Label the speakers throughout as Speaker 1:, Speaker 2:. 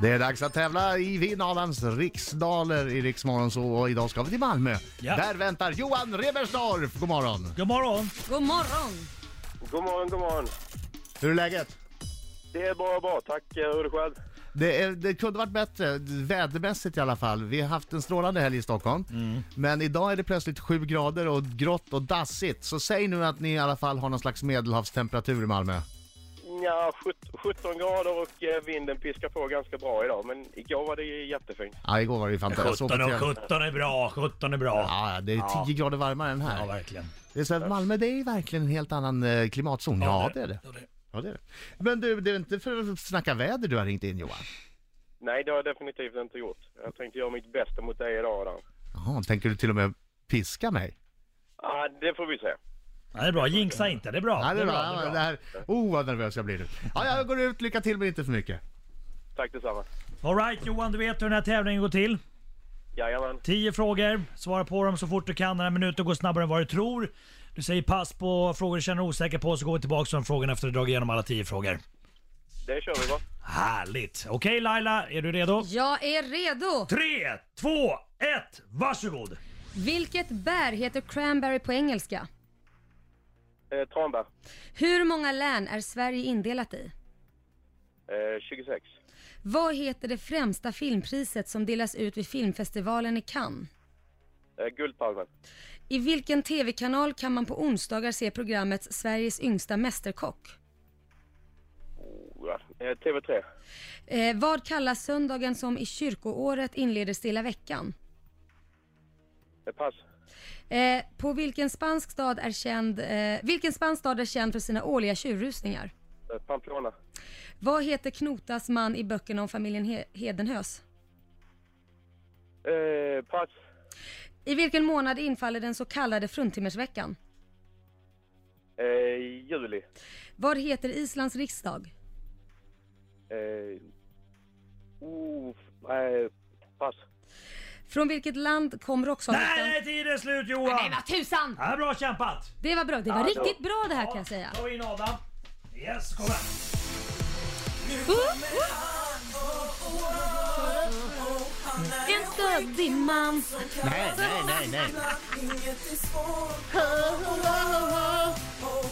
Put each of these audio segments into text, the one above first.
Speaker 1: Det är dags att tävla i Vinnarens riksdaler i Riksmorgon så och idag ska vi till Malmö.
Speaker 2: Ja.
Speaker 1: Där väntar Johan Rebersdorf. God morgon.
Speaker 2: God morgon!
Speaker 3: God morgon!
Speaker 4: God morgon, god morgon.
Speaker 1: Hur är läget?
Speaker 4: Det är bara bra, tack. Eh, Hur är det själv?
Speaker 1: Det, är, det kunde varit bättre, vädermässigt i alla fall. Vi har haft en strålande helg i Stockholm. Men idag är det plötsligt 7 grader och grått och dassigt. Så säg nu att ni i alla fall har någon slags medelhavstemperatur i Malmö.
Speaker 4: Ja, 17 grader och eh, vinden piskar på ganska bra idag, men igår var det jättefint.
Speaker 1: Ja, igår var det ju fantastiskt. Jag såg
Speaker 2: 17
Speaker 1: på
Speaker 2: och
Speaker 1: tv.
Speaker 2: 17 är bra, 17 är bra.
Speaker 1: Ja, det är 10 grader varmare än här.
Speaker 2: Ja, verkligen.
Speaker 1: Det är så att Malmö det är ju verkligen en helt annan eh, klimatzon. Ja, det är det. Ja, det är det. Men du, det är inte för att snacka väder du har ringt in Johan?
Speaker 4: Nej, det har jag definitivt inte gjort. Jag tänkte göra mitt bästa mot dig idag. Adam.
Speaker 1: Jaha, tänker du till och med piska mig?
Speaker 4: Ja, det får vi se.
Speaker 2: Ja, det är bra. Jinxa inte, det är bra.
Speaker 1: Ja, det är bra.
Speaker 2: det är
Speaker 1: Ja, Det här, oh, vad nervös jag blir nu. Ja, jag går ut. Lycka till, men inte för mycket.
Speaker 4: Tack detsamma.
Speaker 2: All right, Johan, du vet hur den här tävlingen går till.
Speaker 4: Jajamän.
Speaker 2: 10 frågor, svara på dem så fort du kan. Den här minuten går snabbare än vad du tror. Du säger pass på frågor du känner dig osäker på, så går vi tillbaka till de frågorna efter att du dragit igenom alla 10 frågor.
Speaker 4: Det kör vi va?
Speaker 2: Härligt! Okej Laila, är du redo?
Speaker 3: Jag är redo!
Speaker 2: 3, 2, 1, varsågod!
Speaker 3: Vilket bär heter cranberry på engelska?
Speaker 4: Eh, Tranberg.
Speaker 3: Hur många län är Sverige indelat i?
Speaker 4: Eh, 26.
Speaker 3: Vad heter det främsta filmpriset som delas ut vid filmfestivalen i Cannes?
Speaker 4: Eh, Guldpalmen.
Speaker 3: I vilken TV-kanal kan man på onsdagar se programmet Sveriges yngsta mästerkock?
Speaker 4: Oh, ja. eh, TV3.
Speaker 3: Eh, vad kallas söndagen som i kyrkoåret inleder Stilla veckan?
Speaker 4: Eh, pass.
Speaker 3: Eh, på vilken spansk stad är känd, eh, vilken spansk stad är känd för sina årliga tjurrusningar?
Speaker 4: Eh, Pamplona.
Speaker 3: Vad heter Knotas man i böckerna om familjen He- Hedenhös?
Speaker 4: Eh, pass.
Speaker 3: I vilken månad infaller den så kallade fruntimmersveckan?
Speaker 4: Eh, juli.
Speaker 3: Vad heter Islands riksdag?
Speaker 4: Eh, oh, f- eh, pass.
Speaker 3: Från vilket land kom
Speaker 2: Nej,
Speaker 3: rocksagerskan?
Speaker 2: nej, tiden är slut Johan!
Speaker 3: tusan!
Speaker 2: Ja, bra kämpat!
Speaker 3: Det var bra, det var
Speaker 4: Ja, det var-
Speaker 3: riktigt bra det här kan jag säga.
Speaker 2: Då in Adam. Yes, kom här.
Speaker 3: En stöddig man.
Speaker 1: Nej, nej, nej, nej.
Speaker 5: Inget är svårt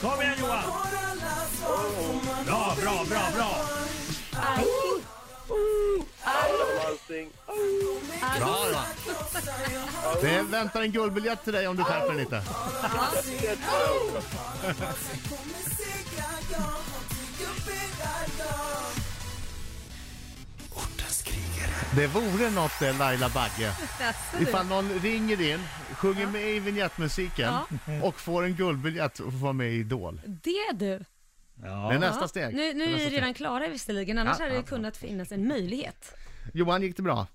Speaker 2: Kom igen Johan!
Speaker 5: för alla svar får man
Speaker 2: Bra, bra, bra, bra!
Speaker 4: Adam Alsing.
Speaker 1: Bra, bra.
Speaker 5: krossa Jag har
Speaker 1: Det väntar en guldbiljett till dig om du skärper dig lite.
Speaker 5: kommer segra Jag har tyg upp era dag
Speaker 1: Det vore något eh, Laila Bagge. Ifall någon ringer in, sjunger med i vignettmusiken och får en guldbiljett och får vara med i Idol.
Speaker 3: Det du.
Speaker 1: Det är
Speaker 2: Ja.
Speaker 1: nästa steg.
Speaker 3: Nu,
Speaker 1: Det
Speaker 3: nu är
Speaker 1: nästa
Speaker 3: vi
Speaker 1: steg.
Speaker 3: redan klara visserligen, annars
Speaker 1: Ja,
Speaker 3: hade det
Speaker 1: ja,
Speaker 3: kunnat finnas en möjlighet.
Speaker 1: Johan, gick det bra?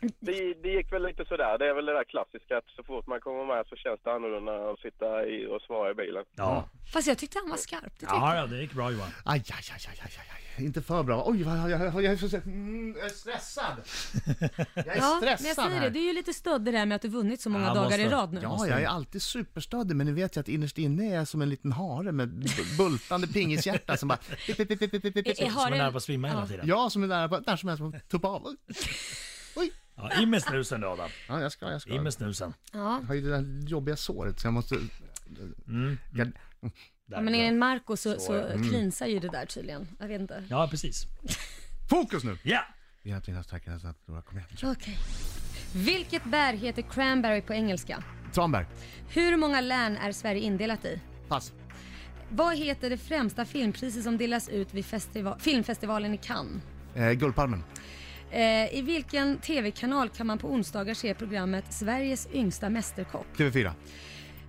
Speaker 4: Det, det gick väl lite sådär. Det är väl det där klassiska att så fort man kommer med så känns det annorlunda att sitta i och svara i bilen.
Speaker 2: Ja.
Speaker 3: Fast jag tyckte han var skarp. Det tyckte
Speaker 2: Ja, ja, det gick bra Johan.
Speaker 1: Aj, aj, aj, aj, aj, aj. Inte för bra. Oj, vad jag, jag, jag, är så- mm, jag är stressad. Jag är
Speaker 3: Ja, men jag
Speaker 1: stressad
Speaker 3: säger det,
Speaker 1: här.
Speaker 3: du är ju lite stöddig där med att du vunnit så många
Speaker 2: Ja,
Speaker 3: dagar i
Speaker 2: måste-
Speaker 3: rad nu.
Speaker 1: Ja, jag är alltid superstödig, men ni vet ju att innerst inne är jag som en liten hare med b- bultande pingishjärta som bara... pip, pip, pip, pip, pip, pip, pip.
Speaker 3: Är-
Speaker 2: Som är
Speaker 3: en-
Speaker 2: nära på att svimma hela
Speaker 3: Ja.
Speaker 2: tiden.
Speaker 1: Jag som är nära på när som helst att tuppa av. Oj!
Speaker 2: Ja, in med snusen då Adam.
Speaker 1: Ja, jag ska, jag ska.
Speaker 2: In
Speaker 1: Jag
Speaker 2: med snusen.
Speaker 3: Ja.
Speaker 1: har ju det där jobbiga såret, så jag måste... Jag,
Speaker 2: Där,
Speaker 3: ja, men är det
Speaker 2: bra.
Speaker 3: en Marco så, så
Speaker 2: ja.
Speaker 3: cleansar ju det Mm. där tydligen. Jag vet inte.
Speaker 2: ja precis.
Speaker 1: fokus nu!
Speaker 2: Ja!
Speaker 1: Hjälp dina stackare så att Nora kommer hem.
Speaker 3: Okej. Vilket bär heter cranberry på engelska?
Speaker 1: Tranberg,
Speaker 3: Hur många län är Sverige indelat i?
Speaker 1: pass.
Speaker 3: Vad heter det främsta filmpriset som delas ut vid festiva- filmfestivalen i Cannes?
Speaker 1: Eh, Guldpalmen.
Speaker 3: Eh, I vilken TV-kanal kan man på onsdagar se programmet Sveriges yngsta mästerkock?
Speaker 1: TV4.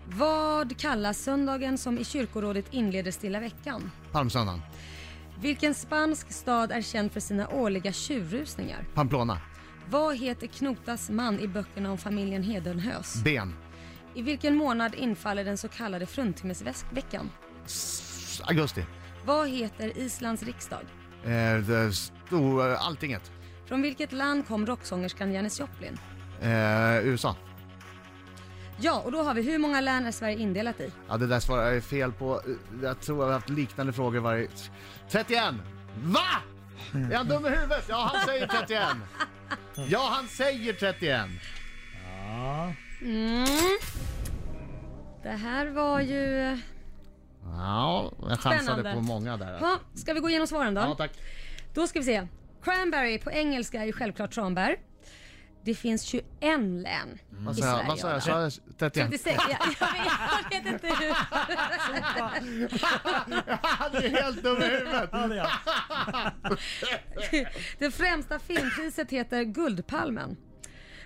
Speaker 3: Vad kallas söndagen som i kyrkorådet inleder Stilla veckan?
Speaker 1: Palmsöndagen.
Speaker 3: Vilken spansk stad är känd för sina årliga tjurrusningar?
Speaker 1: Pamplona.
Speaker 3: Vad heter Knotas man i böckerna om familjen Hedenhös?
Speaker 1: Ben.
Speaker 3: I vilken månad infaller den så kallade fruntimmersveckan?
Speaker 1: S- Augusti.
Speaker 3: Vad heter Islands riksdag?
Speaker 1: Eh, det stor, eh, alltinget.
Speaker 3: Från vilket land kom rocksångerskan Janis Joplin?
Speaker 1: Eh, USA.
Speaker 3: Ja, och då har vi hur måga län är Sverige indelat i?
Speaker 1: Ja, det där Eh, svarar jag fel på. Jag tror jag har haft liknande frågor varje... 31! Va? Är han dum i huvudet? Ja, han säger 31. Ja, han säger 31.
Speaker 2: Ja.
Speaker 3: Mm. Det här var ju...
Speaker 1: Ja, jag chansade
Speaker 3: Spännande.
Speaker 1: på många där. alltså.
Speaker 3: Ja, ska vi gå igenom svaren då?
Speaker 1: Ja, tack.
Speaker 3: Då ska vi se. Cranberry på engelska är ju självklart tranbär. Det finns 21 län
Speaker 1: Vad
Speaker 3: i
Speaker 1: sa jag?
Speaker 3: Sverige.
Speaker 1: Vad sa jag? Sa
Speaker 3: Anna.
Speaker 1: jag 31?
Speaker 3: 36, ja, jag, vet, jag vet inte hur.
Speaker 1: Han är helt dum i huvudet.
Speaker 2: Ja, det är han.
Speaker 3: Det främsta filmpriset heter Guldpalmen.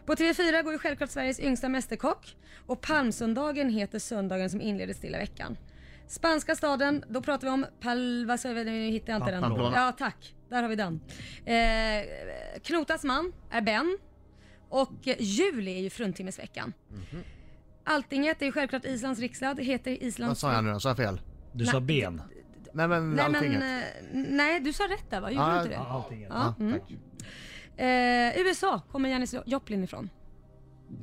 Speaker 3: På TV4 går ju självklart Sveriges yngsta mästerkock och Palmsöndagen heter söndagen som inleder stilla veckan. Spanska staden, då pratar vi om Pal... Vad sa jag? Nu hittar jag inte den.
Speaker 1: Pamplona.
Speaker 3: Ja, tack. Där har vi den. Eh, Knotas man är Ben och eh, juli är ju fruntimmersveckan.
Speaker 1: Mhm.
Speaker 3: Alltinget är ju självklart Islands rikslad, heter
Speaker 1: Vad
Speaker 3: Islands...
Speaker 1: sa jag nu då? Sa jag fel?
Speaker 2: Du sa ben.
Speaker 1: Nej men
Speaker 3: Nej, men,
Speaker 1: alltinget.
Speaker 3: eh, nej, du sa rätt där va? Gjorde
Speaker 1: Ja,
Speaker 3: du inte det?
Speaker 2: Ja, allting.
Speaker 3: Ja,
Speaker 1: Ja,
Speaker 3: mm.
Speaker 1: tack.
Speaker 3: Eh, USA kommer Janis Joplin ifrån.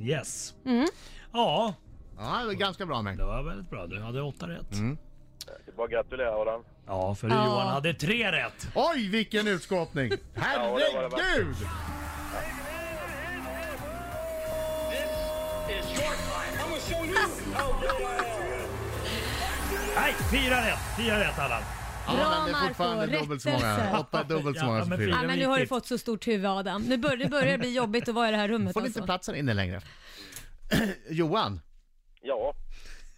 Speaker 2: Yes.
Speaker 3: Mm.
Speaker 2: Ja,
Speaker 1: Ja, det var ganska bra mig.
Speaker 2: det var väldigt bra. Du hade åtta rätt.
Speaker 4: Det är bara att gratulera Adam.
Speaker 2: Ja, för
Speaker 3: Ja.
Speaker 2: Johan hade tre rätt.
Speaker 1: Oj, vilken utskåpning! Herregud!
Speaker 2: Nej, fyra rätt. Fyra rätt Allan.
Speaker 1: Ja, men det är
Speaker 3: Marco,
Speaker 1: fortfarande dubbelt så
Speaker 3: rättelse.
Speaker 1: många. Åtta är dubbelt så
Speaker 2: Ja,
Speaker 1: många
Speaker 2: men
Speaker 1: som fyra.
Speaker 2: fyra.
Speaker 3: Ja, men nu har du
Speaker 2: viktigt.
Speaker 3: fått så stort huvud Adam. Nu börjar det börjar bli jobbigt att vara i det här rummet
Speaker 1: Får ni inte
Speaker 3: alltså.
Speaker 1: plats här inne längre? Johan,
Speaker 4: Ja,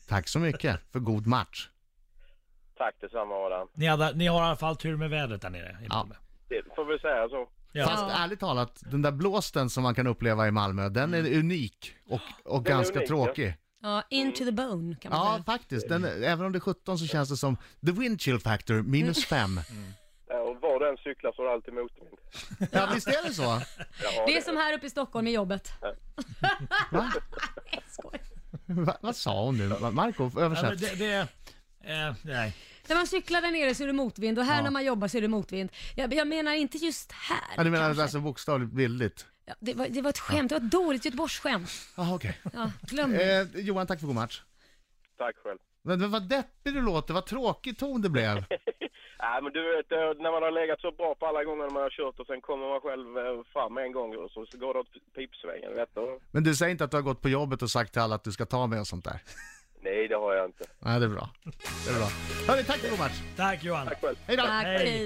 Speaker 1: tack så mycket för god match.
Speaker 4: tack detsamma Adam.
Speaker 2: Ni, hade, ni har i alla fall tur med vädret där nere i
Speaker 1: Ja.
Speaker 2: Malmö.
Speaker 4: Det får vi säga så.
Speaker 2: Ja.
Speaker 1: Fast ärligt talat, den där blåsten som man kan uppleva i Malmö, den är
Speaker 2: Mm.
Speaker 1: unik och, och
Speaker 4: är
Speaker 1: ganska
Speaker 4: unik, ja.
Speaker 1: tråkig.
Speaker 3: Ja, into the bone kan man
Speaker 1: Ja,
Speaker 2: Mm.
Speaker 3: säga.
Speaker 1: faktiskt. Den, även om det är 17 så känns det som the wind chill factor minus 5.
Speaker 2: Mm.
Speaker 4: Ja, Och var du än cyklar så är det alltid motvind.
Speaker 1: Ja, visst är det så?
Speaker 4: Ja,
Speaker 3: Det är som här uppe i Stockholm med jobbet.
Speaker 1: Va?
Speaker 3: Nej, skoj.
Speaker 1: Va, vad sa hon nu? Marco,
Speaker 2: Ja, men
Speaker 1: översätt.
Speaker 2: det, det, eh, nej.
Speaker 3: När man cyklar där nere så är det motvind och här
Speaker 1: Ja.
Speaker 3: när man jobbar så är det motvind. Jag, jag menar inte just här.
Speaker 1: Ja, du menar
Speaker 3: kanske.
Speaker 1: alltså bokstavligt bildligt?
Speaker 3: Ja, det, var, det var ett skämt, det var ett dåligt göteborgsskämt.
Speaker 1: Jaha, okej.
Speaker 3: Ja, glöm det.
Speaker 1: Eh, Johan, tack för god match.
Speaker 4: Tack själv.
Speaker 1: Men, men vad deppig du låter, vad tråkig ton det blev.
Speaker 4: Nej, men du vet, eh, när man har legat så bra på alla gånger man har kört och sen kommer man själv eh, fram en gång och så så går det åt pipsvängen, vet du.
Speaker 1: Men du säger inte att du har gått på jobbet och sagt till alla att du ska ta mig och sånt där?
Speaker 4: Nej, det har jag inte.
Speaker 1: Nej, det är bra. Det är bra. Hörni, tack för god match.
Speaker 2: Tack Johan.
Speaker 4: Tack själv.
Speaker 1: Hej då!
Speaker 3: Tack,
Speaker 2: Hej.
Speaker 3: hej.